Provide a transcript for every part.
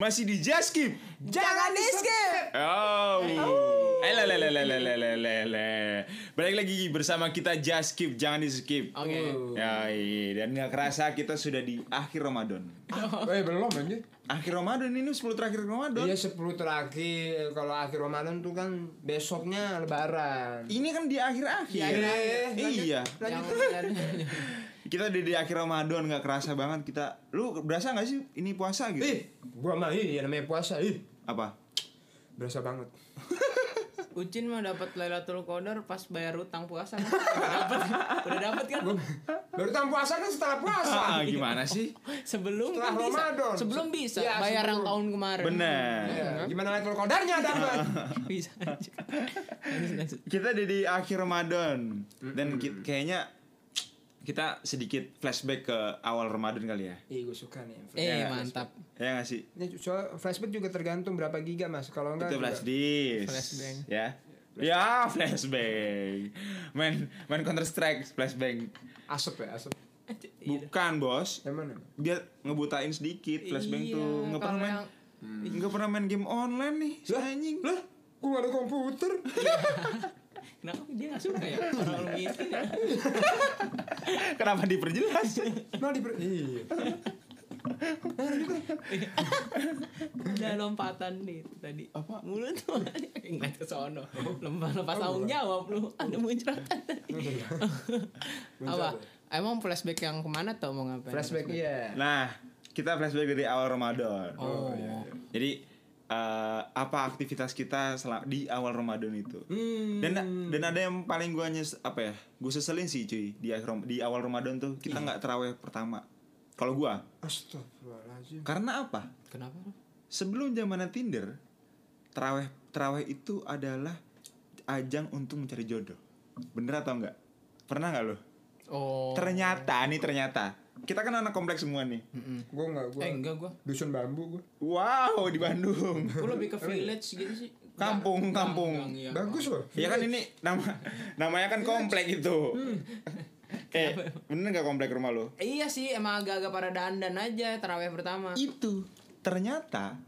Masih di Just Keep. Jangan di skip. Oh. Ele, le, le, le, le, le, le, le, le. Balik lagi bersama kita Just Keep, jangan di skip. Oke. Ya, iya. dan nggak kerasa kita sudah di akhir Ramadan. Eh belum anjir. Akhir Ramadan ini 10 terakhir Ramadan. Iya 10 terakhir eh, kalau akhir Ramadan tuh kan besoknya lebaran. Ini kan di akhir-akhir. Iya, iya. Iya. Yang Kita udah di akhir Ramadan nggak kerasa banget kita. Lu berasa nggak sih ini puasa gitu? Ih, gua mah ih ya namanya puasa ih Apa? berasa banget. Ucin mah dapat Lailatul Qadar pas bayar utang puasa. kan? Udah dapat. Udah dapat kan? Baru tahan puasa kan setelah puasa. Ah, gimana sih? Sebelum Setelah kan bisa. Ramadan. Sebelum bisa Ya, bayar sebelum. yang tahun kemarin. kan? Bener. Iya, Gimana level kodarnya dapat? Bisa aja. Lanjut, lanjut. kita udah di akhir Ramadan dan ki- kayaknya kita sedikit flashback ke awal Ramadan kali ya. Ih, gua suka nih. Eh, Ya, mantap. Ya nggak sih? Ini so, flashback juga tergantung berapa giga mas kalau enggak Itu juga- flashdisk. Flashbang. Ya. Ya, flashbang. Main main Counter Strike flashbang. asap ya asap Iya. Bukan, Bos. yang mana Dia ngebutain sedikit flashbang Iya, tuh. Nggak pernah kalau main yang- nggak pernah main game online nih, si Lah? anjing. lah gua gak ada komputer Kenapa dia nggak suka ya? Orang miskin ya. Kenapa diperjelas? nah di iya Udah lompatan nih tadi. Apa? Mulut tuh ngeliat ke sono. Lempar lepas tanggung jawab lu. Ada muncrat tadi. Apa? Muncrat Emang flashback yang kemana tuh mau ngapain? flashback iya nah, kita flashback dari awal Ramadan. Oh, iya. Jadi eh, apa aktivitas kita sel- di awal Ramadan itu? hmm Dan dan ada yang paling gua nyes apa ya? Gue seselin sih cuy di akhir Ram- di awal Ramadan tuh kita Iya. nggak terawih pertama. Kalau gua Hmm. astagfirullahaladzim karena apa? Kenapa? Sebelum zamannya Tinder, terawih terawih itu adalah ajang untuk mencari jodoh. Bener atau enggak? Pernah nggak lo? Oh. Ternyata nih ternyata kita kan anak kompleks semua nih. gua enggak gua Eh enggak gua. dusun bambu gua Wow di Bandung. Gua lebih ke village gitu sih. Kampung, Gang- kampung. gang, iya. bagus loh Ya kan ini nama namanya kan komplek itu. eh, bener gak komplek rumah lo? Iya sih, emang agak-agak pada dandan aja terawih pertama. Itu ternyata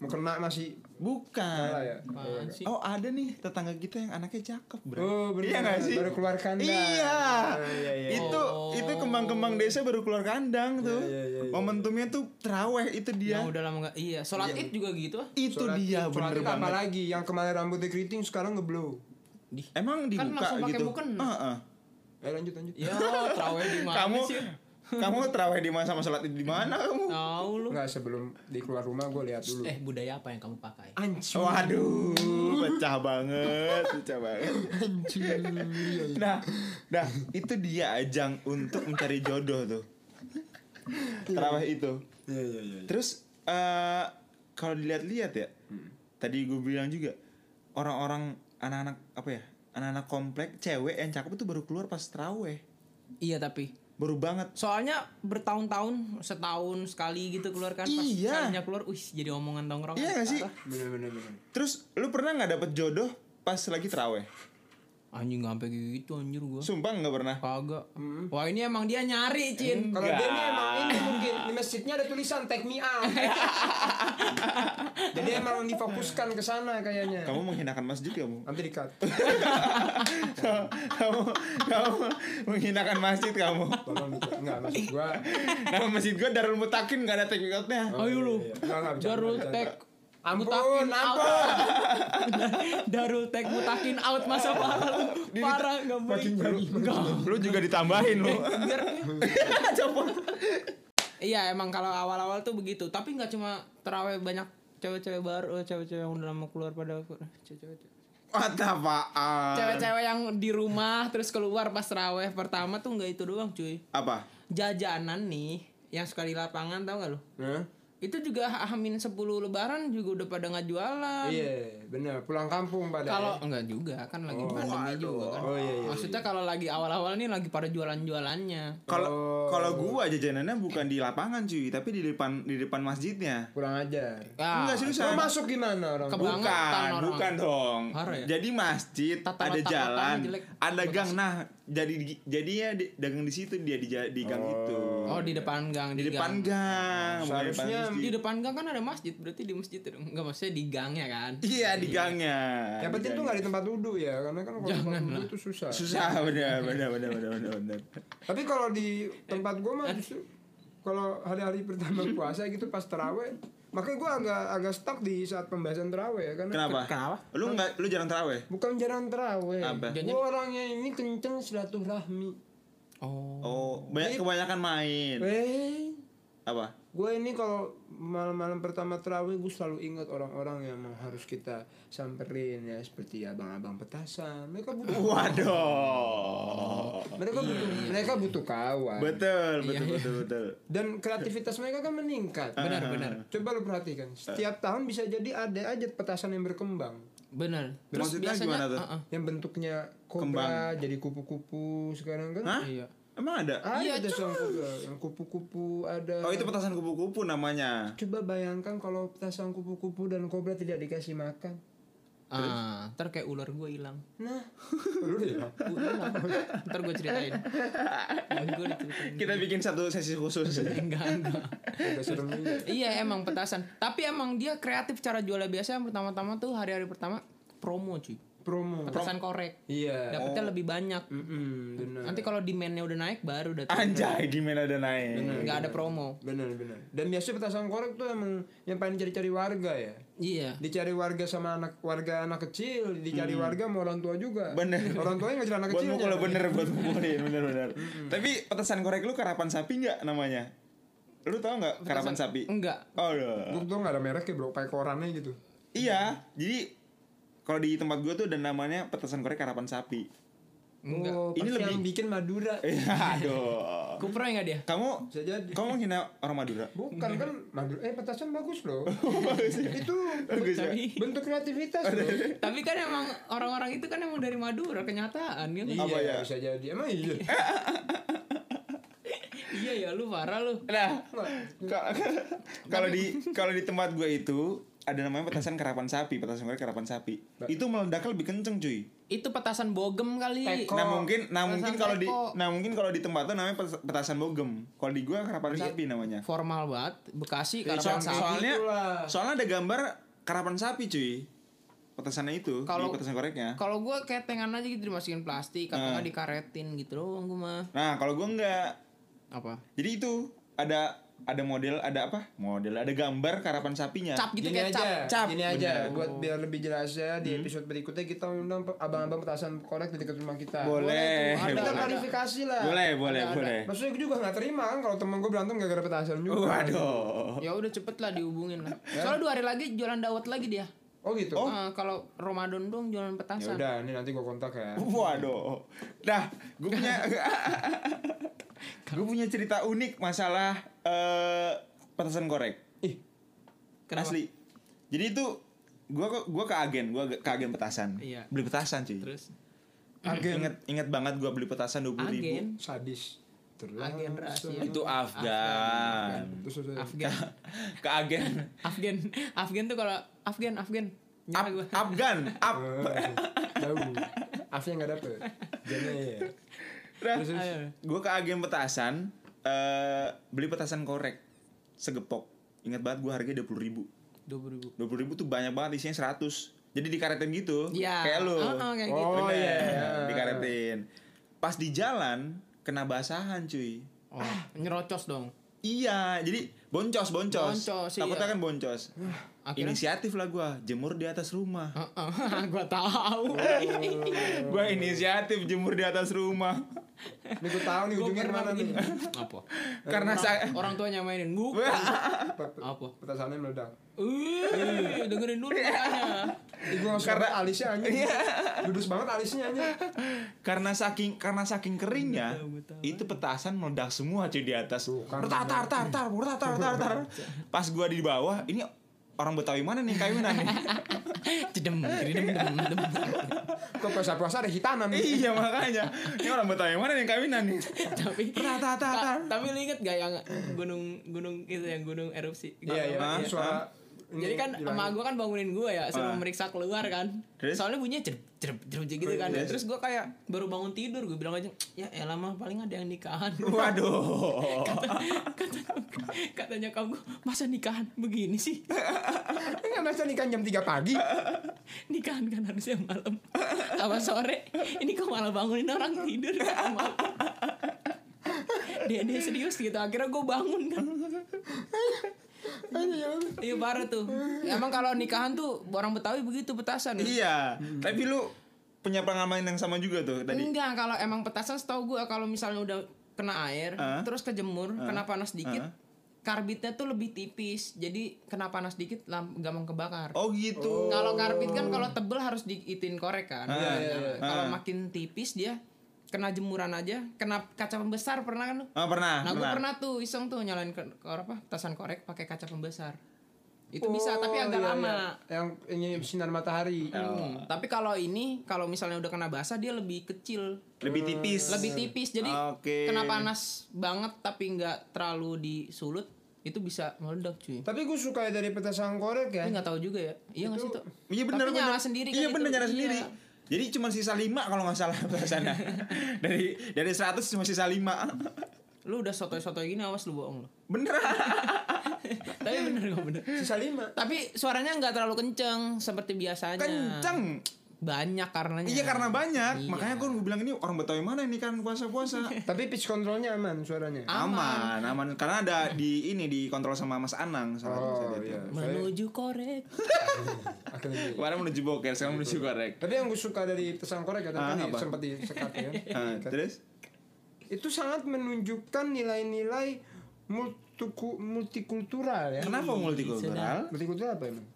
mau kena masih salah bukan. ya Apaan sih? Oh ada nih tetangga kita yang anaknya cakep bro. Oh, bener. Iya gak sih? Baru keluar kandang. Iya. Ah, iya, iya. Itu Oh. itu kembang-kembang desa baru keluar kandang tuh. iya, iya, iya. Momentumnya tuh teraweh itu dia. Yang udah lama enggak. Iya, sholat Id juga gitu ah. Itu Sholat- dia sholat bener itu banget. apa lagi yang kemarin rambutnya keriting sekarang ngeblow Emang dibuka kan langsung pakai gitu. mukena. Heeh. eh lanjut lanjut Ya, terawih di mana Kamu sih? kamu teraweh di masa sholat id di mana kamu? Tahu lu. Enggak sebelum di keluar rumah gue lihat dulu Eh, budaya apa yang kamu pakai? anjing Waduh, pecah banget, pecah banget. Nah, nah itu dia ajang untuk mencari jodoh tuh. Terawih itu. iya iya iya Terus eh kalau dilihat-lihat ya, tadi gue bilang juga orang-orang anak-anak apa ya, anak-anak komplek cewek yang cakep itu baru keluar pas terawih, Iya, tapi baru banget. Soalnya bertahun-tahun setahun sekali gitu keluar kan pas Iya. sekalinya keluar, wih jadi omongan tongkrongan. Iya gak sih? Parah. bener bener bener Terus lu pernah nggak dapet jodoh pas lagi terawih? Anjing gak sampai gitu anjir gua. Sumpah nggak pernah. Kagak. Wah, ini emang dia nyari, Cin. Kalau dia ini emang ini mungkin di masjidnya ada tulisan take me out. Jadi emang difokuskan ke sana kayaknya. Kamu menghinakan masjid kamu? Nanti dikat. kamu kamu menghinakan masjid kamu Tolong di-cut. Enggak maksud gua. nama masjid gua Darul Mutakin gak ada take outnya Ayo lu. Iya, iya. Enggak, enggak, bercanda, Darul bercanda. Oh, Tech. Ampun, Mutakin out. ampun. Darul Tech mutakin out masa parah lu. Parah enggak boleh. Enggak. lu juga ditambahin lu coba Iya, emang kalau awal-awal tuh begitu. Tapi nggak cuma terawih banyak cewek-cewek baru, eh, cewek-cewek yang udah lama keluar pada cewek-cewek. what apaan Cewek-cewek yang di rumah terus keluar pas terawih pertama tuh nggak itu doang, cuy. apa Jajanan nih yang suka di lapangan tau gak lu? Hah? Itu juga hamin 10 lebaran juga udah pada nggak jualan. Iya, bener. Pulang kampung pada. Kalau ya. enggak juga kan lagi pandemi juga kan. Oh, iya, iya, Maksudnya kalau lagi awal-awal nih lagi pada jualan-jualannya. Kalau kalau gua jajanannya bukan di lapangan cuy, tapi di depan di depan masjidnya. kurang ajar. Ah, Enggak serius. Mau masuk gimana orang? Ke- Bukan, Kebangetan orang. bukan dong. Parah ya? Jadi masjid, Tata ada letak jalan, kotanya jelek. ada gang. Nah, jadi jadi ya di- dagang di situ dia di, ja- di gang itu. Oh di depan gang di depan gang. gang. bukan di depan Seharusnya masjid. Di depan gang kan ada masjid, berarti di masjid itu dong. Enggak maksudnya di gangnya kan. Iya, di gangnya. Yang penting tuh Di nggak gang. di tempat duduk ya, karena kan kalau tempat Jangan duduk lah. itu susah. susah bener bener bener bener bener. bener. Tapi kalau di tempat gua Eh. mah justru kalau hari-hari pertama puasa gitu pas terawih, makanya gua agak agak stuck di saat pembahasan terawih ya karena Kenapa? Kenapa? Lu nggak lu jarang terawih? bukan jarang terawih. Apa? Gua orangnya ini kenceng silaturahmi. Oh. Oh, banyak kebanyakan main. Eh, Apa? gue ini kalau malam-malam pertama terawih gue selalu ingat orang-orang yang emang harus kita samperin ya seperti abang-abang petasan. Mereka butuh Waduh. mereka butuh iya. mereka butuh kawan. Betul, betul, betul, betul. dan kreativitas mereka kan meningkat. Benar, Ah. benar. Coba lu perhatikan, setiap tahun bisa jadi ada aja petasan yang berkembang, Benar. Terus Maksudnya biasanya gimana tuh? Uh-uh. yang bentuknya kobra jadi kupu-kupu sekarang Hah? kan. Iya. Emang ada? Ada tuh yang kobra, yang kupu-kupu ada. Oh, itu petasan kupu-kupu namanya. Coba bayangkan kalau petasan kupu-kupu dan kobra tidak dikasih makan. Ah, ntar kayak ular gue hilang. Nah, lu ya. Gue hilang. ntar gue ceritain. gue diceritain. Kita bikin satu sesi khusus. Enggak, enggak. Ada seremnya. iya emang petasan tapi emang dia kreatif cara jualnya biasa yang pertama-tama tuh hari-hari pertama promo cuy Promo. petasan korek Iya. dapetnya lebih banyak Mm-mm, benar. nanti kalau demandnya udah naik baru udah Ah, turun. Anjay, gimana ada naik? nggak ada promo Benar, benar. Dan biasanya petasan korek tuh emang yang paling cari-cari warga ya. iya dicari warga sama anak warga anak kecil dicari warga sama orang tua juga Hmm. Bener. orang tuanya ngejar anak Buat kecil mukul bener, buat mukulin bener bener. Tapi petasan korek lu karapan sapi nggak namanya? Lu tau nggak karapan sapi? enggak Oh, udah. gue tuh gak ada mereknya bro pakai korannya gitu Iya, jadi kalau di tempat gua tuh ada namanya petasan korek karapan sapi. enggak oh, Ini ini lebih- yang bikin Madura Eh, Aduh. kupro enggak dia Kamu bisa jadi kamu menghina orang Madura? bukan kan Madura eh petasan bagus loh itu Bagus ya? tapi bentuk kreativitas loh tapi kan emang orang-orang itu kan emang dari Madura kenyataan gitu Apa ya? Iya, Eh. bisa jadi emang iya iya ya lu parah lu Nah, ka- kalau di kalau di tempat gua itu ada namanya petasan karapan sapi, petasan korek karapan sapi. Itu meledaknya lebih kenceng, cuy. itu petasan bogem kali Teko. Nah mungkin, nah Petasan mungkin kalau di, teko. nah mungkin kalau di tempat tuh namanya pet- petasan bogem. Kalau di gua karapan sapi namanya. formal banget Bekasi Iya, karapan So- sapi Iya. sapi soalnya, itulah. soalnya ada gambar karapan sapi, cuy. Petasannya itu, Kalau- di petasan koreknya. kalau gue ketengan aja gitu dimasukin plastik Nah. atau nggak dikaretin gitu doang gue mah Nah kalau gua enggak, apa jadi itu ada ada model, ada apa? Model, ada gambar karapan sapinya. cap gitu Ya, Gini kayak cap aja, cap. Hmm. gini aja, buat biar lebih jelasnya di episode berikutnya kita undang pe- abang-abang petasan korek di dekat rumah kita. Boleh, Boleh tuh, Kita ada. klarifikasi lah. boleh, boleh, Ada, ada. boleh. Maksudnya gue juga gak terima kan kalau temen gue berantem gara-gara petasan juga. Waduh. ya udah cepet lah dihubungin lah soalnya dua hari lagi jualan dawet lagi dia Ya. Oh gitu. Eh, kalau Ramadan dong jualan Ya petasan udah, ini nanti gue kontak ya. Uh. Waduh. Nah, gue punya gue punya cerita unik masalah eh petasan korek. Ih, Kenapa? Asli. Jadi itu gue gua ke agen, gue ke agen petasan. Iya. Beli petasan cuy. terus agen Ingat ingat banget gue beli petasan dua puluh ribu. agen sadis. Terus agen rahasia Itu Afgan. Terus terus, Eh, terus. Afgan Ke agen. Afgan Afgan tuh kalau Afgan Afgan nyala Af- gue Afgan. Af- Eh, Tahu. Afnya nggak dapet. Jadi ya. Ayo. gue ke agen petasan eh beli petasan korek segepok. Ingat banget gue harganya dua puluh ribu. dua puluh ribu dua puluh ribu tuh banyak banget isinya 100 jadi dikaretin gitu Iya. kayak lu Heeh, kayak gitu. Oh, Bener, ya, iya. dikaretin pas di jalan kena basahan cuy oh nyerocos dong iya jadi boncos boncos, Boncos, takutnya iya. kan boncos akhirnya- inisiatif lah gua jemur di atas rumah gue tahu gua inisiatif jemur di atas rumah Ini gue tahu nih gue ujungnya pernah mana nih. begini apa karena saya orang tuanya mainin bukan Pe- pe- apa Petasannya meledak. Eh, dengerin dulu makanya. Ih, gua langsung Karena- karena alisnya anjing. Iya. Lurus banget alisnya anjing. karena saking karena saking keringnya Betul, betul. itu petasan meledak semua cuy di atas Bukan. tar tar tar tar tar tar tar tar pas gua di bawah ini orang Betawi mana nih kayu mana nih Cedem, cedem, cedem, cedem. Kok puasa-puasa ada hitanan. iya makanya ini orang Betawi mana nih kawinan nih Tapi tar tar tar tar Ta- tapi lu inget gak yang gunung gunung itu yang gunung erupsi? Iya, iya, Ah, ini suara ini Jadi kan hilang. emak gue kan bangunin gue ya Ah. suruh meriksa keluar kan. Terus? Oh, iya, Soalnya bunyinya jerep jerep jerep gitu kan. Terus? Terus gue kayak baru bangun tidur gue bilang aja ya elah mah paling ada yang nikahan. waduh kata katanya kamu masa nikahan begini sih Enggak Iya, masa nikahan jam 3 pagi. nikahan kan harusnya malam sama sore ini kok malah bangunin orang tidur gitu malam dia dia serius gitu akhirnya gue bangun kan iya parah tuh emang kalau nikahan tuh orang betawi begitu petasan ya? iya tapi lu punya pengalaman yang sama juga tuh tadi enggak kalau emang petasan setahu gue kalau misalnya udah kena air Ah. terus kejemur kena panas dikit karbitnya tuh lebih tipis jadi kena panas dikit lam- gampang kebakar oh gitu Kalau karbit kan kalau tebel harus diitin korek kan. Iya, Nah, iya, iya. Kalau Ah. makin tipis dia kena jemuran aja, kena kaca pembesar pernah kan lu? Ah, pernah Nah, gue pernah pernah tuh iseng tuh nyalain ke, ke- apa? Tasan korek pakai kaca pembesar. Itu bisa tapi agak Oh, iya, lama. iya. Yang ini sinar matahari. Oh. Hmm, Tapi kalau ini kalau misalnya udah kena basah dia lebih kecil, lebih tipis lebih Hmm. tipis. Jadi Oke. kena panas banget tapi nggak terlalu disulut itu bisa meledak cuy. Tapi gue suka dari petasan korek ya. Tapi nggak tahu juga ya. Iya nggak sih tuh? Iya benar Tapi nyala sendiri kan Iya itu. benar nyala Iya. sendiri. Jadi cuma sisa 5 kalau nggak salah ke sana. dari dari 100 cuma sisa 5. Lu udah sotoy-sotoy gini awas lu bohong lu. Beneran. Tapi bener gak bener. Sisa 5. Tapi suaranya nggak terlalu kenceng seperti biasanya. Kenceng. Banyak karenanya. Iya karena banyak. Iya. Makanya gue bilang ini orang Betawi mana ini kan puasa-puasa. Tapi pitch controlnya aman suaranya. aman, aman. Karena ada di ini dikontrol sama Mas Anang salah satu Oh saat itu. iya. Saya- Menuju korek. Ah. akhirnya gini. Kemarin menuju boker, sekarang menuju Iya. korek. Tapi yang gue suka dari petasan korek ya Ah, tadi apa? sempat disekat ya. Ah, terus Itu sangat menunjukkan nilai-nilai multiku- multikultural ya. kenapa multikultural? Multikultural apa emang?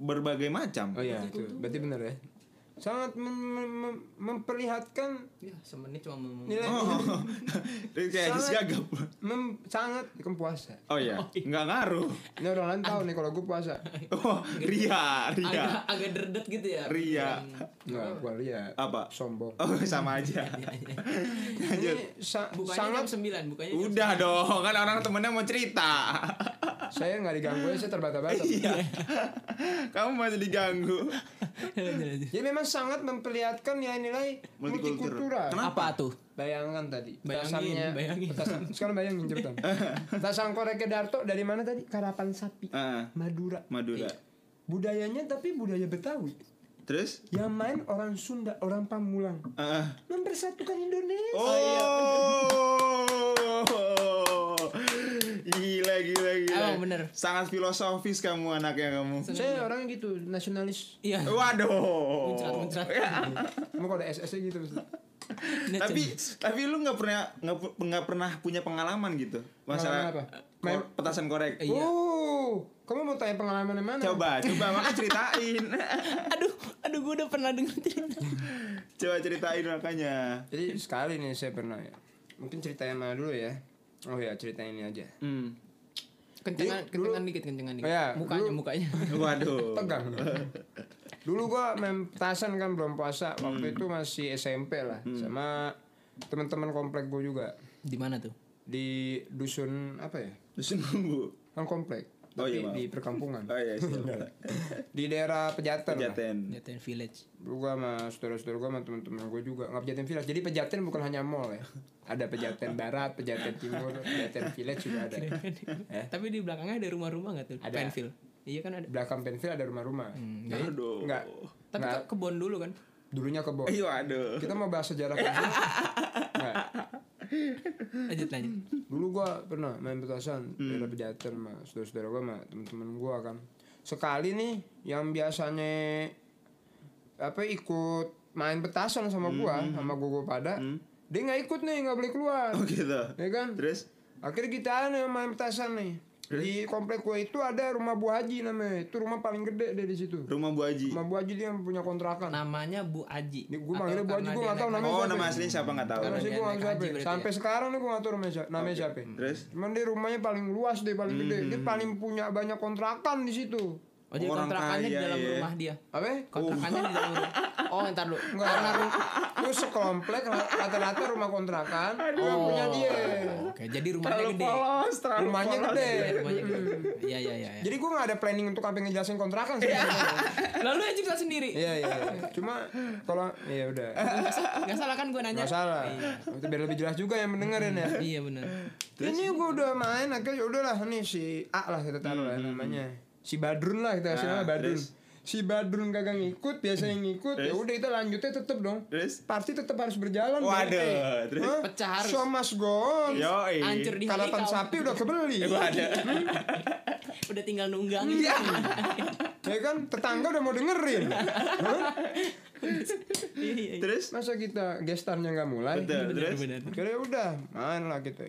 Berbagai macam. Oh iya, itu. Berarti benar ya. Sangat mem- mem- mem- memperlihatkan ya, semenit cuma mau. nilai Oh, Terus kayak Sangat- gagap. mem- sangat kan puasa. Oh iya, nggak ngaruh. Ini orang lain tahu nih kalau gue puasa. Oh, ria, ria. Agak agak derdet gitu ya. Iya. Ria Enggak, gue ria. apa? Nah, Sombong. Oh sama aja. Lanjut. Ini sa- Bukannya sangat jam 9, bukannya jam Udah dong, kan orang temennya mau cerita. saya nggak diganggu ya, saya terbata-bata. Iya. Kamu masih diganggu. 9. Jadi memang sangat memperlihatkan nilai-nilai Multikultural. multikultural. Apa tuh? Bayangan tadi. Bayangin, Petasannya- bayangin. petasan- sekarang bayangin cepetan. Tasang korek Darto dari mana tadi? Karapan sapi. Ah, Madura. Iya. Madura. Budayanya tapi budaya Betawi. Terus? Yang main orang Sunda, orang Pamulang. Ah. Mempersatukan Indonesia. iya, Iya. Oh. Gila, gila, gila. Emang bener. Sangat filosofis kamu anaknya kamu. Saya orang gitu, nasionalis. Iya. Waduh. Ya, Muncrat, muncrat. Iya. Kamu kalau ada SS gitu. maksudnya. tapi tapi lu nggak pernah nggak pu- nggak pernah punya pengalaman gitu masalah Pengalaman apa? kor- Main- petasan korek Iya. Oh, kamu mau tanya pengalaman yang mana? coba coba maka ceritain aduh, aduh gue udah pernah denger cerita. Iya, coba ceritain makanya Jadi sekali nih saya pernah ya. Mungkin cerita yang mana dulu ya? Oh ya cerita ini aja. hmm. Kencengan, kencengan dikit, kencengan Oh, dikit. iya. mukanya, Dulu- mukanya. waduh Tegang. dulu gua main petasan kan belum puasa. Hmm. Waktu itu masih SMP lah sama teman-teman komplek gua juga Di mana tuh? di dusun apa ya? terus nunggu Kan komplek. Oh, Tapi iya, maaf. di perkampungan. oh iya silakan. Di daerah Pejaten. lah. pejaten Datain village. Dulu gua sama saudara-saudara gua sama teman-teman gua juga nggak pejaten village. Jadi pejaten bukan hanya mall ya. Ada pejaten barat, pejaten timur, pejaten village juga ada. Tapi di belakangnya ada rumah-rumah nggak tuh? Eh? Ada. Penfield. Iya kan ada. Belakang penville ada rumah-rumah. Hmm. aduh Enggak. Tapi Enggak. ke kebon dulu kan. Dulunya kebo. Oh. iya waduh Kita mau bahas sejarah kebo. Enggak. Lanjut lanjut. Dulu gua pernah main Hmm. petasan daerah pejaten sama saudara-saudara gua sama teman-teman gua kan. Sekali nih yang biasanya apa ikut main petasan sama gua Hmm. sama gua, gua pada Hmm? dia nggak ikut nih nggak boleh keluar oh gitu ya kan terus akhirnya kita aneh main petasan nih Di komplek gue itu ada rumah Bu Haji namanya. Itu rumah paling gede deh di situ. Rumah Bu Haji. Rumah Bu Haji dia yang punya kontrakan. Namanya Bu Aji. Ini gua Atau manggilnya Bu Aji, gua karena dia nggak tahu naik- namanya. Oh, siapa nama ya? aslinya siapa nggak tahu. Karena sih dia gue nggak naik tahu siapa. haji ya? berarti ya? Hmm. Sampai sekarang nih gue nggak tahu namanya siapa. Namanya siapa. ya? Terus Cuman dia rumahnya paling luas deh, paling gede. Dia paling punya banyak kontrakan di situ. Oh, jadi Orang kontrakannya di kaya, dalam ya. rumah dia. Apa? Kontrakannya di dalam rumah. Oh, ntar dulu. Enggak, karena itu sekomplek rata-rata rumah kontrakan. Oh, Oh. punya dia. Oke, jadi rumahnya gede. polos, terlalu Rumahnya gede. Iya, rumahnya gede. Iya, iya, iya. iya. Jadi gue gak ada planning untuk apa ngejelasin kontrakan sih. Iya. Lalu yang cerita sendiri. Iya iya. iya. Cuma kalau ya udah Gak salah kan gue nanya? nggak salah. Itu biar lebih jelas juga yang mendengarin ya. Iya benar. Ini gue udah main akhirnya ya udahlah nih si A lah kita taruh lah ya Hmm, namanya. Si Badrun lah kita kasih Nah, nama Badrun. terus? Hmm, Si Badrun kagak ngikut, biasanya ngikut. Ya Terus? udah kita lanjutnya tetep dong. Terus Party tetap harus berjalan. Waduh, Eh, terus? hah? Pecah harus. Show must go on. yo Hancur di hati Kalapan kau. sapi udah kebeli. Hmm. ada. Udah tinggal Iya, nunggangin. Iya. ya kan tetangga udah mau dengerin Iya, iya, iya. Terus masa kita gestarnya nggak mulai Betul, terus Benar-benar. akhirnya ya udah main lah gitu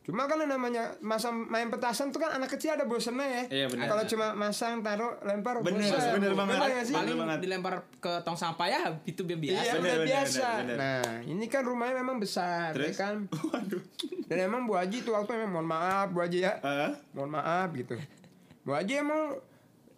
cuma kan yang namanya masa main petasan tuh kan anak kecil ada bosennya ya Iya, benar. kalau cuma masang taruh lempar Bener, bosen. bener banget. Bener nggak sih? Bener Paling banget. dilempar ke tong sampah ya itu biar biasa. Iya, Bener, udah bener, biasa. bener, bener. Nah, ini kan rumahnya memang besar, ya terus kan? Waduh. Dan emang Bu Haji tuh waktu memang mohon maaf Bu Haji ya, Ah? mohon maaf gitu. Bu Haji emang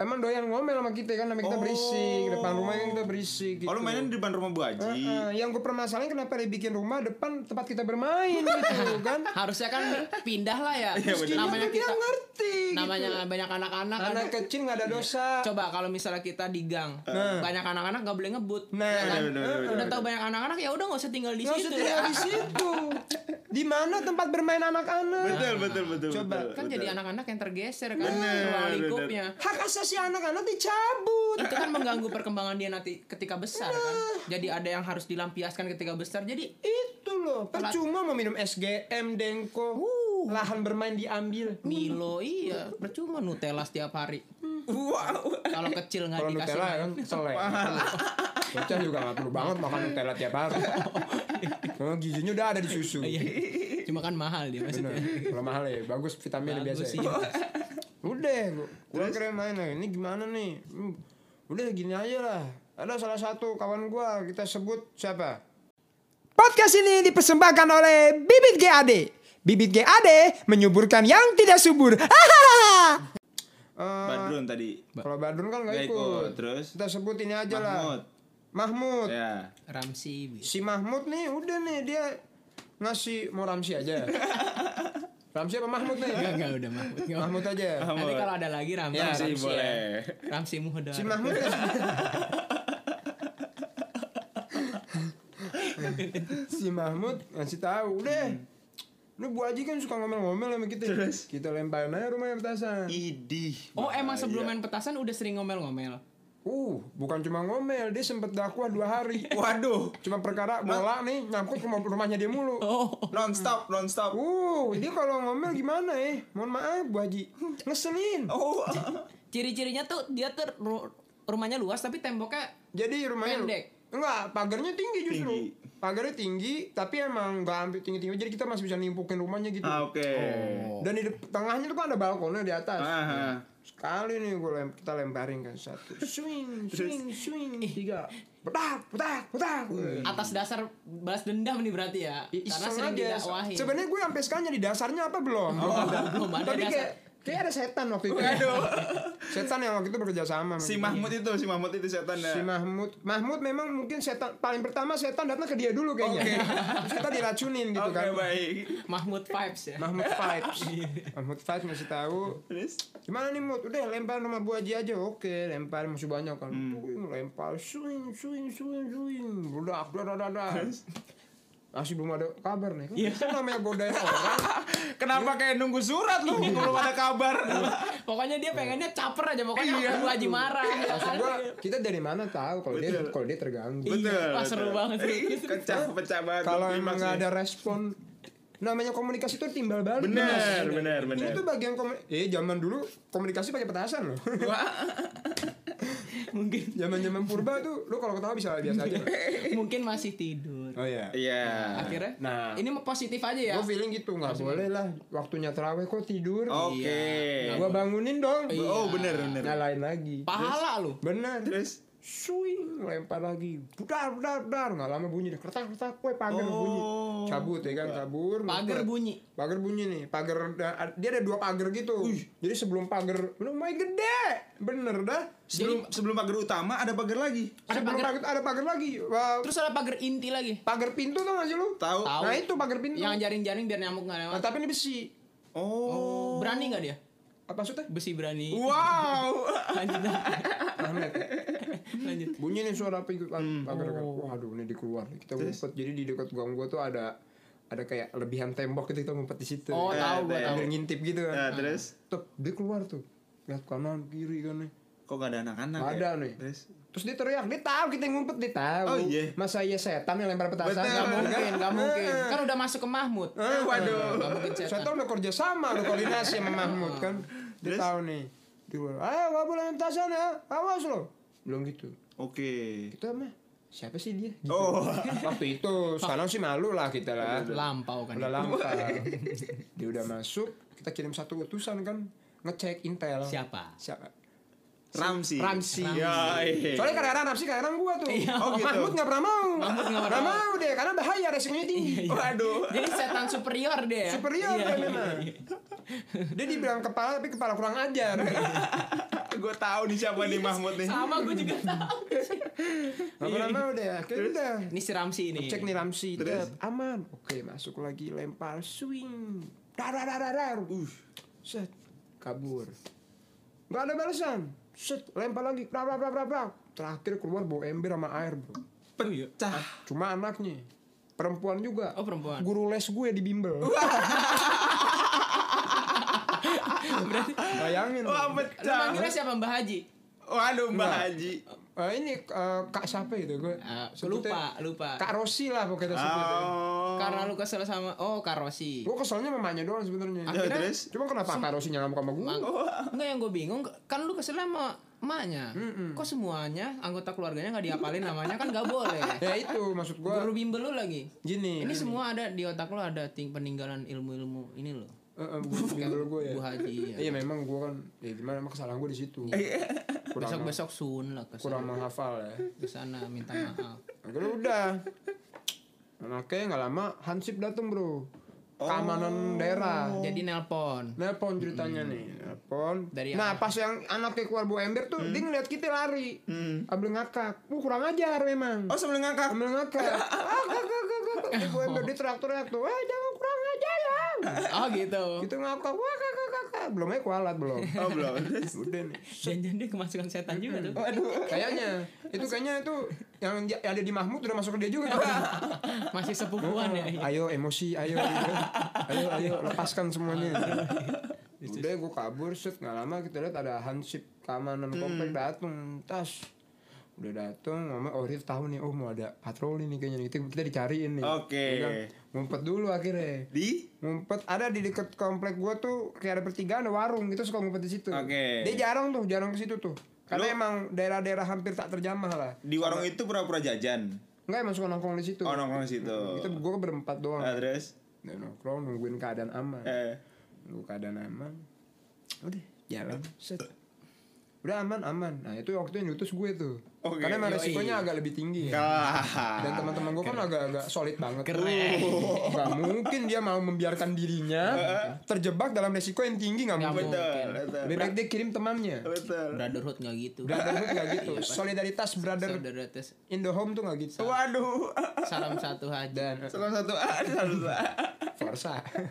emang doyan ngomel sama kita kan, sama Oh. kita berisik depan rumah kan kita berisik. Gitu. Oh, lu mainan di depan rumah Bu Haji. Heeh, yang gue permasalahin kenapa dia bikin rumah depan tempat kita bermain gitu kan? Harusnya kan pindah lah ya. Iya, benar. namanya Dia kita ngerti. gitu. namanya banyak anak-anak kan. Anak kecil nggak ada dosa. Coba kalau misalnya kita di gang, banyak anak-anak gak boleh ngebut. Nah, ya kan? benar, benar, benar, udah benar. tau banyak anak-anak ya udah gak usah tinggal di Nggak usah situ. ya. tinggal di situ. Di mana tempat bermain anak-anak? Betul, betul, betul. Coba, betul, Kan betul. jadi anak-anak yang tergeser kan Benar, ruang benar. lingkupnya. Hak asasi anak-anak dicabut. itu kan mengganggu perkembangan dia nanti ketika besar kan. Jadi ada yang harus dilampiaskan ketika besar. Jadi Itu loh, percuma mau minum SGM, Dengko. Uh. Lahan bermain diambil. Milo iya percuma Nutella setiap hari. Kalau kecil nggak Kalau dikasih. Nutella ya kan selek. Bocah juga gak perlu banget makan Nutella tiap hari. Karena gizinya udah ada di susu. Iya. ya. Cuma kan mahal dia Bener. maksudnya. Kalau mahal ya, bagus vitaminnya Bagus biasa. iya. sih. ya. Udah, gua, gua kira main lah. Ini gimana nih? Hmm, Udah gini aja lah. Ada salah satu kawan gua kita sebut siapa? Podcast ini dipersembahkan oleh Bibit GAD. Bibit GAD menyuburkan yang tidak subur. Eh, Badrun tadi. kalau Badrun kan nggak Nggak ikut. ikut. oh, Terus? kita sebut ini aja Mahmud. lah. Mahmud. Ya. Ramsi bis. Si Mahmud nih udah nih dia ngasih mau Ramsi aja. Ramsi apa Mahmud nih? Enggak enggak udah Mahmud. Nggak usah. Mahmud aja. Nanti kalau ada lagi Ramsi. Ya, sih Ramsi boleh. ya. Ramsi Muhdar. Si Mahmud ya. si Mahmud ngasih tahu udah. Lu Bu Haji kan suka ngomel-ngomel sama kita. Hmm. Terus? Kita lemparin aja rumahnya petasan. Idih. Oh emang bahaya. sebelum main petasan udah sering ngomel-ngomel. Uh, bukan cuma ngomel, dia sempet dakwah dua hari. Waduh. Cuma perkara bola nih nyangkut ke rumahnya dia mulu. Oh Non stop, non stop. Uh, dia kalau ngomel gimana ya? Mohon maaf Bu Haji. Ngeselin. Oh. ciri-cirinya tuh dia tuh ru- rumahnya luas tapi temboknya Jadi rumahnya Pendek. Enggak, pagarnya tinggi justru. Tinggi. Pagarnya tinggi, tapi emang nggak sampai tinggi-tinggi. Jadi kita masih bisa nimpukin rumahnya gitu. Ah, Oke. Dan di dep- tengahnya tuh kan ada balkonnya di atas. Ah, ah. Sekali nih gue lem- kita lemparin kan satu. Swing, swing, swing, tiga. Petak, petak, petak. atas dasar balas dendam nih berarti ya. I- Karena iseng sering aja. didakwahin. Sebenarnya gue sampai sekarang jadi dasarnya apa belum? belum ada Tapi dasar. kayak kayak ada setan waktu itu. Aduh. setan yang waktu itu bekerja sama. sama Si kita. Mahmud itu, si Mahmud itu setan ya. Si Mahmud, Mahmud memang mungkin setan paling pertama setan datang ke dia dulu kayaknya. Terus kita diracunin gitu Oke, kan. baik. Mahmud vibes ya. Mahmud vibes. Mahmud vibes masih tahu. Terus Gimana nih Mut? Udah lempar rumah Bu Haji aja. Oke, lempar masih banyak kan. Hmm. Tuing, lempar swing swing swing swing. Udah, udah, udah, udah. Masih belum ada kabar nih. Kan Iya. Itu namanya godain orang. kenapa kayak nunggu surat lu belum ada kabar? Pokoknya dia pengennya caper aja pokoknya Bu Haji marah. ya Iya. Maksud kan? gua, kita dari mana tahu kalau dia Betul. kalau dia terganggu. betul. Iya, wah, seru betul. banget. Ih, Pecah, pecah banget. Kalau Gua emang klimaks nggak nih. ada respon namanya komunikasi itu timbal balik. Iya. Bener, bener, bener. Ini tuh bagian komunikasi. Eh zaman dulu komunikasi pakai petasan loh. mungkin zaman zaman purba tuh lu kalau ketawa bisa biasa aja mungkin masih tidur oh iya Iya. akhirnya Nah. ini mah positif aja ya gue feeling gitu nggak boleh lah waktunya terawih kok tidur Oke. gue bangunin dong Oh bener Oh, iya. bener. nyalain lagi pahala lu bener Terus swing lempar lagi budar budar budar nggak lama bunyi kertas kertas kue pagar bunyi Oh. cabut ya kan kabur muter. pagar bunyi pagar bunyi nih pagar da- dia ada dua pagar gitu jadi sebelum pagar lumayan gede bener dah sebelum sebelum pagar utama ada pagar lagi. ada sebelum pagar ada pagar lagi Wah, terus ada pagar inti lagi pagar pintu tuh nggak sih lu Tahu. Tahu. nah itu pagar pintu yang jaring-jaring biar nyamuk nggak nah, lewat tapi ini besi Oh. berani nggak dia apa maksudnya besi berani Wow. lanjut Magnet. lanjut bunyi nih suara pintu pag- pagar kan waduh ini dikeluar nih. kita ngumpet jadi di dekat gang gua tuh ada ada kayak lebihan tembok gitu kita ngumpet di situ oh Iya, tahu gua iya. tahu Ambil ngintip gitu Nah, kan terus Tep, dia keluar tuh lihat kanan kiri kan nih kok gak ada anak-anak? Nggak ya? ada nih. Terus Terus dia teriak, dia tahu kita yang ngumpet, dia tahu. Oh, iya. Masa iya setan yang lempar petasan? Betul. nggak mungkin nggak mungkin Nah. kan udah masuk ke Mahmud Eh, waduh. nggak mungkin setan Setan udah kerja sama, udah koordinasi sama Mahmud kan. Dia Terus? tahu nih. Dia bilang, ayo nggak boleh lempar petasan ya, awas lo. Belum gitu. oke. Kita mah siapa sih dia? Gitu. Oh. Waktu itu, sekarang sih malu lah kita lah. lampau kan Udah lama. dia udah masuk, kita kirim satu utusan kan ngecek intel. siapa Siapa? Ramsi. Ramsi. Ya, iya. Soalnya kan- kadang-kadang nafsi kadang-kadang gua tuh. Oh, gitu. Iya. Mahmud nggak pernah mau. Mahmud nggak Nggak pernah mau Iya, deh, karena bahaya resikonya tinggi. Waduh. jadi setan superior dia ya? Superior Iya, dia iya, memang. iya. Dia dibilang kepala tapi kepala kurang ajar. gue tahu nih siapa nih Mahmud nih. sama gue juga tahu Gak pernah mau deh, akhirnya udah. ini si Ramsi ini Cek nih Ramsi, tet, aman. Oke, masuk lagi lempar swing. Dar dar dar dar, dar. Uh, set kabur. Gak ada balasan. Set lempar lagi. Brak brak brak brak, brak. Terakhir keluar bawa ember sama air, Bro. Pecah. Cuma anaknya perempuan juga. iya. oh perempuan guru les gue di bimbel bayangin Wah lu pecah. manggilnya siapa Mbak Haji Waduh Mbak Enggak. Haji. Eh, ini eh, kak siapa gitu gue Ah, sebutnya- lupa lupa kak Rosi lah pokoknya sebutnya Oh. karena lu kesel sama oh Karosi gue keselnya sama mamanya doang sebenarnya Ya, terus cuma kenapa kak Rosi ngamuk sama gue Enggak yang gue bingung kan lu kesel sama emaknya kok semuanya anggota keluarganya nggak diapalin namanya kan nggak boleh ya itu maksud gue guru bimbel lu lagi gini ini semua ada di otak lu ada ting peninggalan ilmu-ilmu ini lo Eh, eh, guru bimbel gue ya Bu Haji ya. iya memang gue kan ya gimana emang kesalahan gue di situ Iya. kurang besok-besok sun lah ke kurang menghafal ya ke sana minta maaf akhirnya udah makanya nggak lama Hansip dateng bro keamanan daerah Oh. jadi nelpon Nelpon ceritanya nih, nelpon. Dari Hmm. nah, pas yang anaknya keluar bawa ember tuh, dia ngeliat kita lari. Hmm. Ambil ngakak. Wah, kurang ajar memang. Oh sebelum ngangkat. Ambil ngakak. Ah, ngakak, ngakak, ngakak. Dia bawa ember di traktor-traktor. Wah, jangan kurang ajar ya. oh gitu Gitu ngakak. Wah, kakak, kakak. Belum aja kualat, belum. Oh belum. Terus. Udah nih. jangan-jangan dia kemasukan setan juga tuh Kayaknya itu kayaknya itu yang di- yang ada di Mahmud udah masuk ke dia juga. masih sepupuan ya Ah, ayo emosi, ayo, ayo, ayo lepaskan semuanya. Udah gue kabur set nggak lama kita lihat ada hansip keamanan Hmm. komplek datang tas udah datang mama oh dia tahu nih oh mau ada patroli nih kayaknya nih. kita, kita dicariin nih Oke. Ya kan? ngumpet dulu akhirnya Di. ngumpet ada di dekat komplek gua tuh kayak ada pertigaan ada warung gitu suka ngumpet di situ Oke. dia jarang tuh jarang ke situ tuh karena Lu- emang daerah-daerah hampir tak terjamah lah Di warung itu pura-pura jajan. nggak emang suka nongkrong di situ Oh nongkrong di situ. kita gue berempat doang Nah, terus. Nah, nongkrong nungguin keadaan aman Eh. nunggu keadaan aman udah jalan set udah aman aman nah itu waktu yang diutus gue tuh Oke. karena emang Yoi. resikonya agak lebih tinggi ya Kalah. dan teman-teman gue kan agak-agak solid banget Oh, nggak mungkin dia mau membiarkan dirinya terjebak dalam resiko yang tinggi nggak Nggak mungkin Betul. Betul. lebih baik dia kirim temannya Betul. brotherhood nggak gitu brotherhood nggak gitu solidaritas brother Saudara tes, in the home tuh nggak gitu Waduh. salam satu haji dan eh, Salam satu A, salam satu A. Forsa.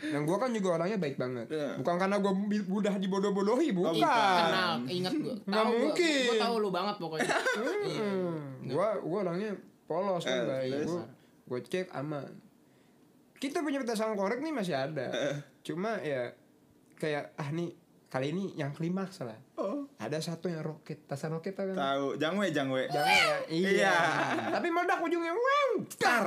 Dan gue kan juga orangnya baik banget. Iya. Oh, Bukan karena gue mudah dibodoh-bodohi, bukan. Ih, kenal ingat gue Nggak mungkin. Mm. gue tahu lu banget pokoknya Iya. Gue gue orangnya polos kan, Eh, baik. terus? Gue gue cek aman. Eh. Kita punya petasan korek nih masih ada. Cuma ya kayak ah nih kali ini yang klimaks lah Oh. ada satu yang roket tasan roket apa yang- Tahu, jangwe jangwe. Jangan ya. Iya. Tapi meledak ujungnya weng, cetar.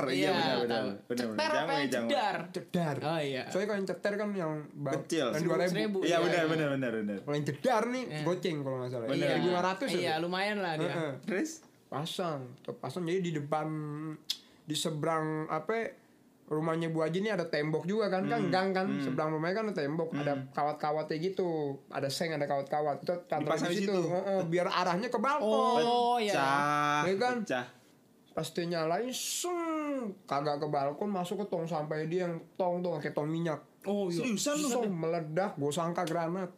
Tar, iya benar benar. Benar benar. Cetar apa Jangwe ya? jangwe. Cedar. Jedar. Oh iya. Soalnya kalau yang cetar kan yang bang, Kecil. Yang dua ribu. Seribu. Iya Iya, benar iya. benar benar benar. Kalau yang jedar nih Iya. goceng kalau nggak salah. Bener. Iya. Lima ratus. Iya, lumayan lah dia. Terus Pasang, Tuh, pasang. Jadi di depan, di seberang apa? Rumahnya Bu Haji ini ada tembok juga kan, kan gang kan, seberang rumahnya kan ada tembok, ada kawat-kawatnya gitu, ada seng, ada kawat-kawat. Itu taruh Dipasang di situ? Heeh, biar arahnya ke balkon. Oh iya. pecah. Iya kan? Pecah. pas dia nyalain seng kagak ke balkon masuk ke tong sampai dia yang tong tong kayak tong minyak Oh iya. Seriusan lu? seng meledak gue sangka granat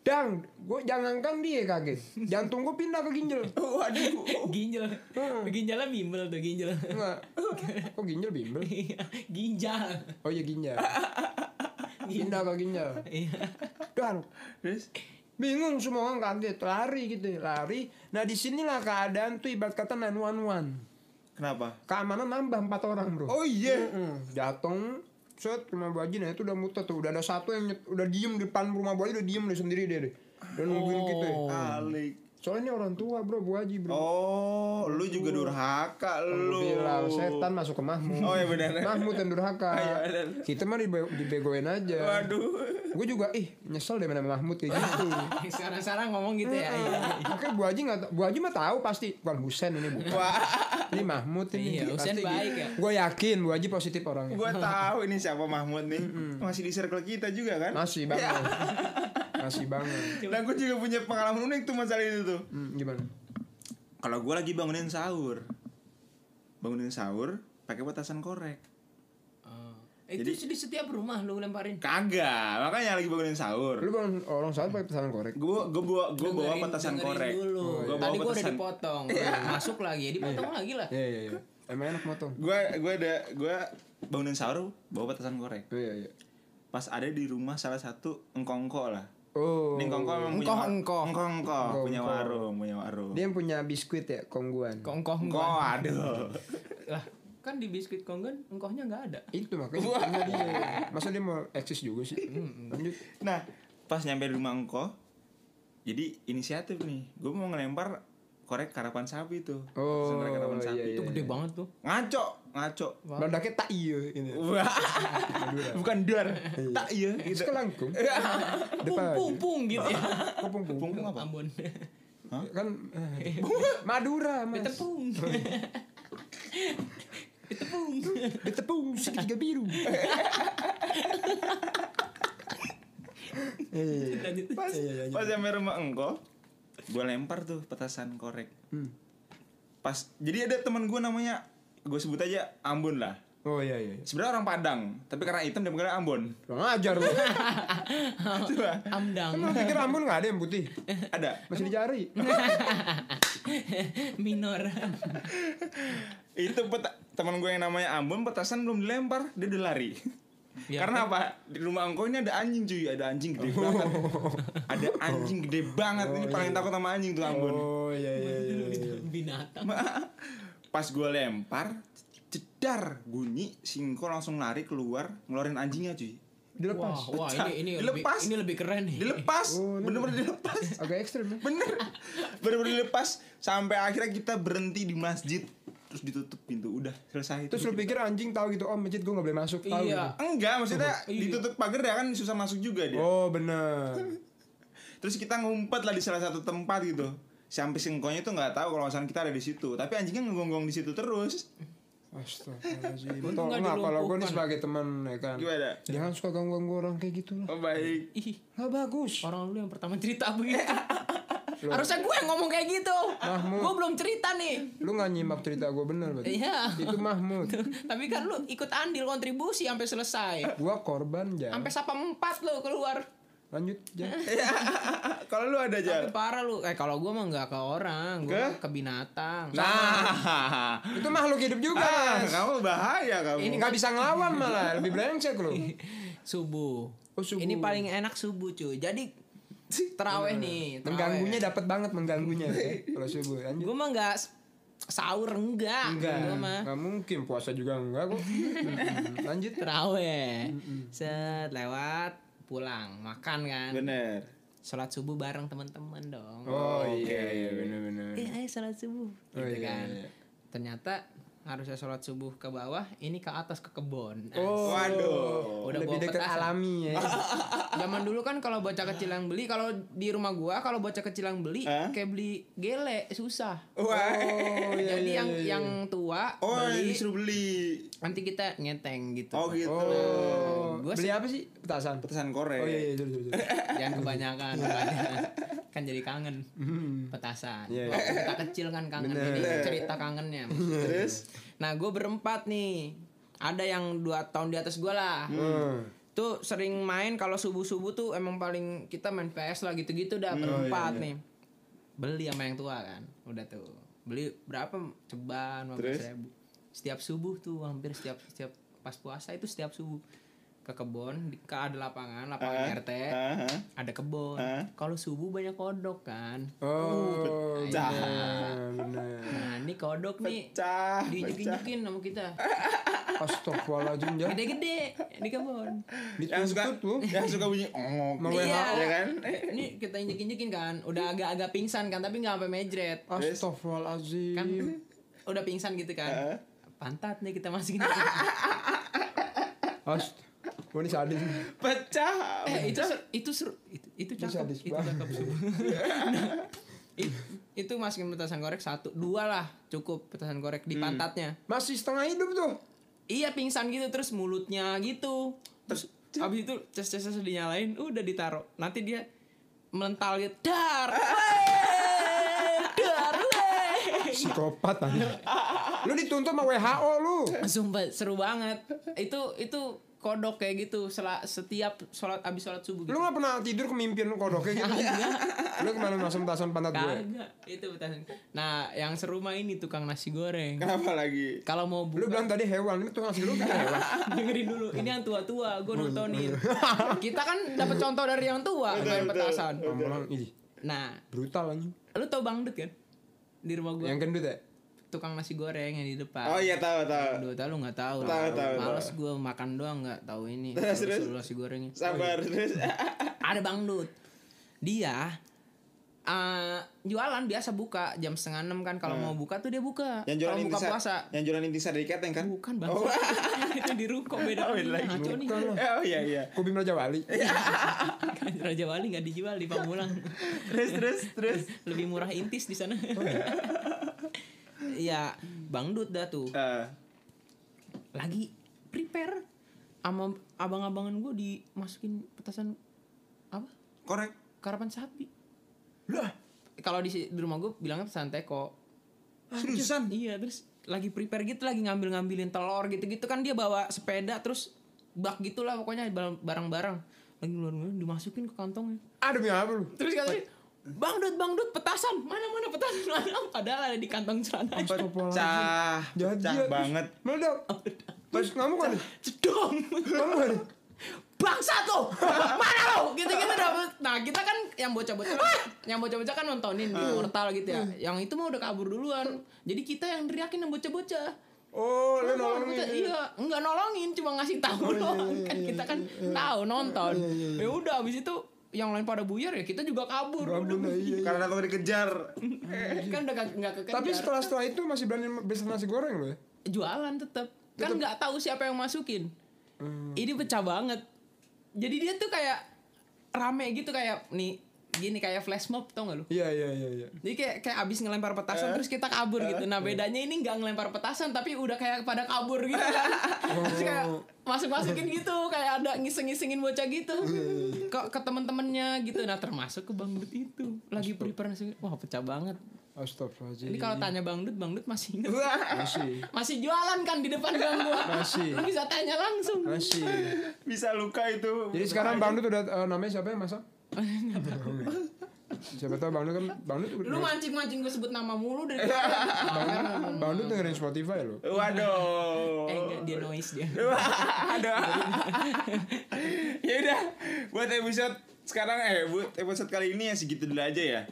dang gue jangankan dia kaget jantung gue pindah ke ginjal Waduh. Ginjal. Heeh. Ginjalnya bimbel tuh ginjal. Enggak. kok ginjal bimbel Iya, Ginjal. oh iya ginjal pindah ke ginjal Iya. dan Terus bingung semua orang kaget lari gitu lari nah disinilah keadaan tuh ibarat kata 911 kenapa? keamanan nambah empat orang bro Oh iya. Mm-mm. Dateng set rumah Bu Haji nah itu udah muter tuh udah ada satu yang nyet- udah diem di depan rumah Bu Haji udah diem deh sendiri dia deh udah nungguin kita Oh. Alik. soalnya ini orang tua bro Bu Haji bro Oh. Oh, lu juga durhaka Gua lu. bilang setan masuk ke Mahmud Oh, iya benar. Mahmud yang durhaka Iya, benar. kita mah dibe- dibegoin aja Waduh. gue juga ih nyesel deh sama Mahmud kayak gitu Sekarang-sekarang ngomong gitu ya. Iya. Oke Bu Haji nggak ta- Bu Haji mah tahu pasti bukan Husen ini bukan ini Mahmud ini Iya, Husen baik ya. gue yakin Bu Haji positif orangnya Gua tahu ini siapa Mahmud nih. Masih di circle kita juga kan? Ah, Masih banget. Masih banget. Nah, gue juga punya pengalaman unik tuh masalah itu tuh. Hmm, gimana? Kalau gue lagi bangunin sahur, bangunin sahur pakai petasan korek. Oh. Itu di setiap rumah lu lemparin. Kagak, makanya lagi bangunin sahur. Lu bang orang salah pakai pesanan korek. Gue gue bawa gue bawa Dengerin- petasan dengerin korek. dulu. Gue bawa Tadi gua udah petasan. Iya. dipotong. Masuk lagi, ya dipotong lagi lah. Iya iya iya. Emang enak motong. Gue gue ada gue bangunin sahur bawa petasan korek. Oh, Iya iya. Pas ada di rumah salah satu engkongko lah. Oh. Ini engkongko emang punya Engkoh, war- engkoh. engkongko punya Engkongko. warung, punya warung. Dia yang punya biskuit ya kongguan. Kongkoh Engkoh, aduh. Lah, kan di biskuit konggan engkohnya nggak ada. Itu makanya punya dia. Masa dia mau eksis juga sih? Lanjut. Nah, pas nyampe di rumah engkau, jadi inisiatif nih. Gue mau ngelempar korek karapan sapi tuh. Oh, Korek karapan iya, sapi. iya. Itu gede banget tuh. Ngaco, ngaco. Meledaknya tak iya ini. Wah, bukan duar, tak iya gitu. Gitu. Kelangkung. Depan. Pung-pung gitu ya. Kepung pung. Punggung apa? Ambon. Kan eh, Madura mas. Tepung. Tepung. Betepung segitiga biru. Iya iya iya. Lanjut. Pas, Iya, iya, iya. pas nyampe rumah engkau, gue lempar tuh petasan korek. Hmm. Pas, jadi ada teman gue namanya, gue sebut aja Ambon lah. Oh iya iya. Sebenarnya orang Padang, tapi karena hitam dia panggilnya Ambon. Kurang ajar lu. Coba, Emang Amdang. pikir Ambon gak ada yang putih? ada. Masih dicari. Minor. itu peta- teman gue yang namanya Ambon petasan belum dilempar dia udah lari Ya, kan? karena apa di rumah engkau ini ada anjing cuy ada anjing gede Oh. banget ada anjing gede banget ini paling takut sama anjing tuh Ambon iya. Oh iya iya iya. iya. Binatang. pas gue lempar jedar bunyi singko langsung lari keluar ngeluarin anjingnya cuy Dilepas. Wah, wah Pecah. ini ini Dilepas. lebih ini lebih keren nih. dilepas Oh, ini- bener-bener dilepas Agak ekstrim ya. bener bener-bener dilepas sampai akhirnya kita berhenti di masjid terus ditutup pintu udah selesai Terus lu pikir anjing tahu gitu, oh masjid gua gak boleh masuk tahu Iya. Enggak, maksudnya Iya. ditutup pagar ya kan susah masuk juga gitu. dia. Oh bener. Terus kita ngumpet lah di salah satu tempat gitu. Sampai singkonya tuh nggak tahu kalau misalnya kita ada di situ. Tapi anjingnya ngegonggong di situ terus. Astagfirullahaladzim. Untung Tau nggak nggak kalau gua nih dilumpuhkan. sebagai teman ya kan. Gimana? Jangan suka ganggu-ganggu orang kayak gitu lah. Oh, baik. Ih, Gak bagus. orang lu yang pertama cerita begitu. Harusnya gue yang ngomong kayak gitu. Mahmud. Gue belum cerita nih. Lu gak nyimak cerita gua bener berarti. Iya. Itu Mahmud. Tapi kan lu ikut andil kontribusi sampai selesai. Gua korban ya. Sampai sapa empat lu keluar. Lanjut ya. kalau lu ada aja. Iya. Tapi parah lu. Eh kalau gue mah nggak ke orang, gue Ke? ke binatang. Nah, Itu makhluk hidup juga. ah, Mas. kamu bahaya kamu. Ini gak bisa ngelawan malah, lebih brengsek lu. Subuh. Oh, subuh. Eh, Ini paling enak subuh cuy. Jadi teraweh nih. Mengganggunya ya. dapat banget mengganggunya. ya. Kalau subuh lanjut. Gue mah nggak s- sahur enggak. Enggak, Gue mah enggak mungkin puasa juga enggak kok. Mm, Lanjut. teraweh. Set lewat pulang makan kan. Bener. sholat subuh bareng teman-teman dong Oh iya iya benar benar. eh ayo sholat subuh Oh, gitu iya, kan iya. ternyata harusnya sholat subuh ke bawah ini ke atas ke kebun Oh, Waduh. Udah lebih bawa dekat petasan. alami ya. Zaman dulu kan kalau bocah kecil yang beli, kalau di rumah gua kalau bocah kecil yang beli Hah? kayak beli gele susah. Wah. eh, Oh iya Jadi iya. yang iya. yang tua Oh, yang beli disuruh beli. nanti kita ngeteng gitu. Oh gitu. Oh, Gua beli apa sih? Petasan. Petasan korek. Oh iya iya jujur jujur. Jangan kebanyakan. Iya. kebanyakan. kan jadi kangen. Petasan. Mm-hmm. Iya, iya. Kalau Cerita kecil kan kangen. Ini cerita kangennya. Terus Nah, gua berempat nih. Ada yang dua tahun di atas gua lah. Hmm. tuh sering main kalau subuh subuh tuh emang paling kita main PS lah gitu Oh, gitu iya, dah berempat nih beli sama yang tua kan udah tuh beli berapa ceban Terus? ribu setiap subuh tuh hampir setiap setiap pas puasa itu setiap subuh ke kebun di, ke ada lapangan lapangan Ah, RT Aha. ada kebun Ah. kalau subuh banyak kodok kan Uh, Oh, pecah. benar, benar. nah ini kodok nih Cah, pecah. dijukin-jukin sama kita Astagfirullahaladzim ya. gede-gede di kebun Yang suka Dituntut lu. yang suka bunyi ongok. Mau gitu, Iya. ya kan? Ini kita injek-injekin kan, udah agak-agak pingsan kan, tapi nggak sampai mejret. Kan Astagfirullahaladzim. udah pingsan gitu Heeh. kan. Pantat nih kita masukin. Eh, Ast. Gua ini sadis. nih. Pecah. eh, itu seru- itu seru itu, itu Ini cakep, sadis itu banget. cakep semua. Nah, i- itu masukin petasan korek satu, dua lah cukup petasan korek di Hmm. pantatnya. Masih setengah hidup tuh. Iya pingsan gitu terus mulutnya gitu. Terus abis itu ces ces ces dinyalain, udah ditaruh. Nanti dia melental gitu, dar, wey, dar, wey. Psikopat anjing. Lu dituntut sama WHO lu. Sumpah seru banget. Itu itu kodok kayak gitu sela- setiap sholat abis sholat Lu subuh gitu. gak pernah tidur kemimpinan kodoknya gitu. lu kemana masuk petasan pantat gue? Kagak itu betul. Nah yang seru mah ini tukang nasi goreng. Kenapa lagi? Kalau mau Lu buka bilang tadi hewan, ini tuh ngasih lu bilang hewan. dengerin dulu. Ini yang tua-tua, gue nontonin. Kita kan dapat contoh dari yang tua main petasan. Ngomong, ih, Nah, brutal anjing. lu tau bangdut kan? Di rumah gue Yang gendut ya? tukang nasi goreng yang di depan. Oh iya tahu tahu. Dua tahu lu nggak tahu. lah. Tahu, tahu, Males gue makan doang nggak tahu ini. Terus, Terus, terus. terus nasi gorengnya. Sabar terus. ada Bang Dut. Dia eh, jualan biasa buka jam setengah enam kan kalau mau buka tuh dia buka. Hmm. Yang jualan Kalau buka intisari, puasa yang jualan intisari di keteng kan? bukan Bang. Oh. itu di ruko beda. Oh, beda lagi. Ngaco nih. Bukan Eh, Oh iya iya. Kubim Raja Wali. Kan Raja Wali nggak dijual di Pamulang. Terus terus terus. Oh, Lebih murah intis di sana. Iya, Bang Dut dah tuh. Eh, Lagi prepare sama abang-abangan gue dimasukin petasan apa? korek. Karapan sapi. Lah, Kalau di, di rumah gue bilangnya petasan teko. seriusan. Iya terus lagi prepare gitu lagi ngambil-ngambilin telur gitu-gitu kan dia bawa sepeda terus bak gitulah pokoknya bar- barang-barang lagi ngeluarin dimasukin ke kantongnya Ah, demi apa lu? terus katanya Bang Dut, Bang Dut, petasan, mana mana petasan, mana padahal ada di kantong celana. Pecah. Pecah Jadi- banget. Meledak. Oh, Terus ngamuk kan? Cedong, Ngamuk kan? bangsat lo, mana lo, gitu-gitu dapet. Nah kita kan yang bocah-bocah, yang bocah-bocah kan nontonin Ah. di portal gitu Hmm. ya. Yang itu mah udah kabur duluan. Jadi kita yang teriakin yang bocah-bocah. Oh, lu Emang nolongin. Oh, iya, kita- iya nggak nolongin cuma ngasih tahu doang kan kita kan tahu nonton ya udah abis itu yang lain pada buyar ya kita juga kabur Kabur, udah. nah, iya, iya. Karena takut dikejar. kan udah gak- nggak kekejar Tapi setelah setelah itu masih berani besar nasi goreng lu ya? jualan tetap kan nggak tahu siapa yang masukin ini pecah banget jadi dia tuh kayak rame gitu kayak nih gini kayak flash mob tau gak lu Iya, iya, iya, iya. jadi kayak kayak abis ngelempar petasan terus kita kabur gitu. Nah bedanya ini nggak ngelempar petasan tapi udah kayak pada kabur gitu kan. terus kayak masuk-masukin gitu kayak ada ngiseng-ngisengin bocah gitu. ke ke temen-temennya gitu. Nah termasuk ke Bang Dut itu lagi prepare nasi- Wah pecah banget. Astagfirullahaladzim. Ini kalau tanya Bang Dut, Bang Dut masih inget. Masih. masih jualan kan di depan gang gua. Masih. Lu bisa tanya langsung. Masih. Bisa luka itu. Jadi sekarang Bang Dut udah eh, namanya siapa yang masak? siapa tahu Bang Dut kan Bang Dut Lu mancing-mancing gue sebut nama mulu dari tadi. Iya. Bang Dut dengerin Spotify ya, loh. Waduh. Eh enggak dia noise dia. Ada. ya udah, buat episode sekarang eh buat episode kali ini ya segitu dulu aja ya.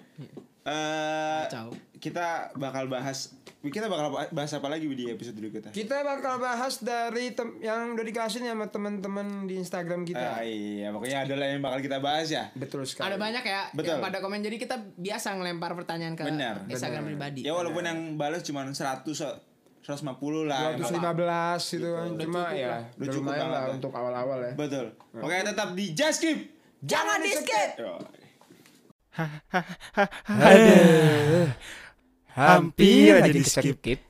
Eh Kacau. kita bakal bahas Kita bakal bahas apa lagi di episode berikutnya? Kita bakal bahas dari tem- yang udah dikasih nih sama teman-teman di Ah, Instagram kita. iya, pokoknya adalah yang bakal kita bahas ya. Betul sekali. Ada banyak ya Betul. yang pada komen jadi kita biasa ngelempar pertanyaan ke Benar, Instagram pribadi. Ya walaupun yang balas cuma 100 so- 150 lah. yang 215 gitu kan. Cuma ya Udah udah cukup lumayan banget lah ya. untuk awal-awal ya. bakal- Betul. Pokoknya tetap di Just Keep. Jangan di skip. Yoi. Hampir aja di skip.